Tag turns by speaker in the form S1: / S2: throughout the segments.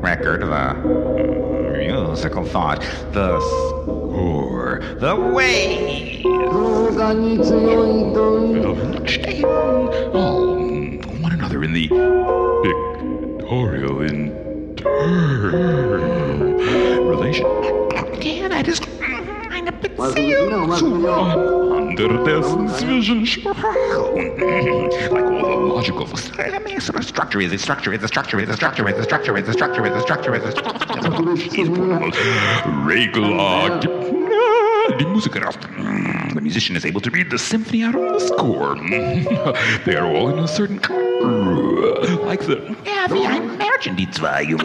S1: record, the musical thought, the score, the way.
S2: 空間に強いとい
S1: All on one another in the pictorial inter relation. Again, I just kind of bit
S2: 忘れるなお祭りを
S1: under this vision. like all the logical I mean, sort of structure is a structure is a structure is a structure is a structure is a structure is a structure is a structure regular Ah, the music the musician is able to read the symphony out of the score they are all in a certain like the yeah I imagined it's value uh,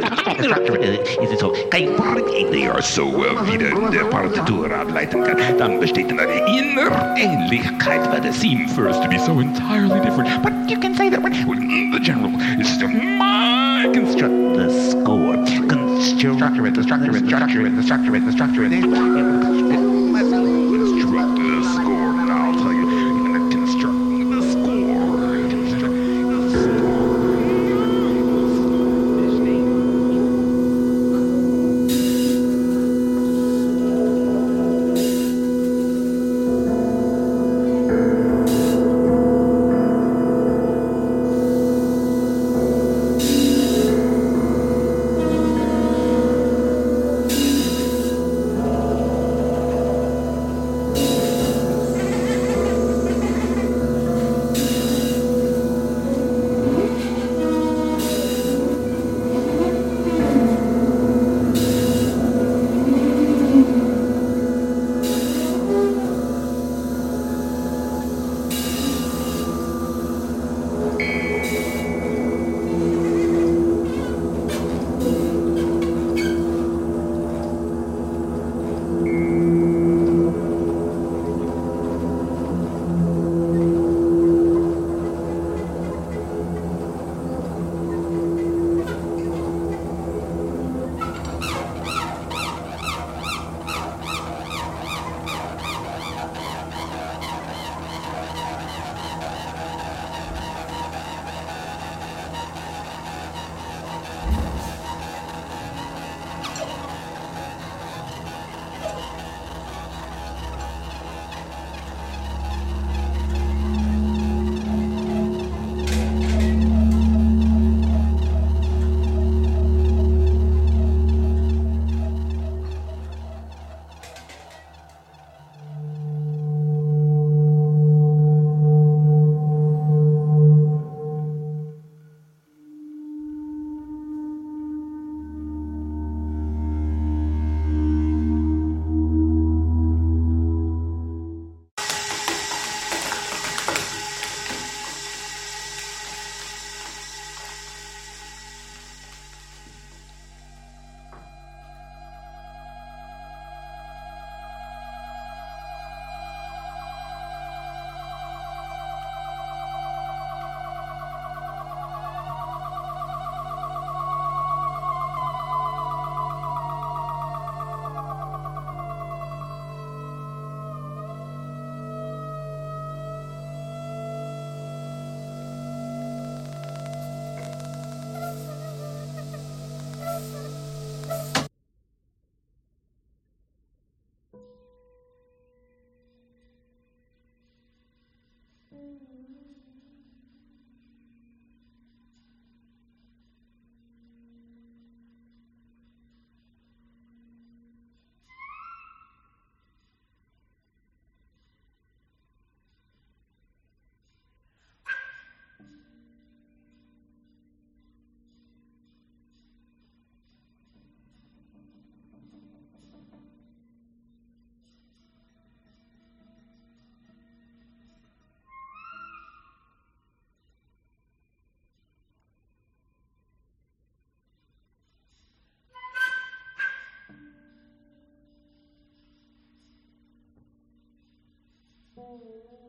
S1: is it so they are so uh, well wieder der Partitur ableiten kann dann besteht eine inner Ähnlichkeit but the seem first to be so entirely different but you can say that when the general is still my construct the score construct it the structure it the structure it the structure it the structure it construct the score and I'll tell you construct the score construct the score
S3: Thank you.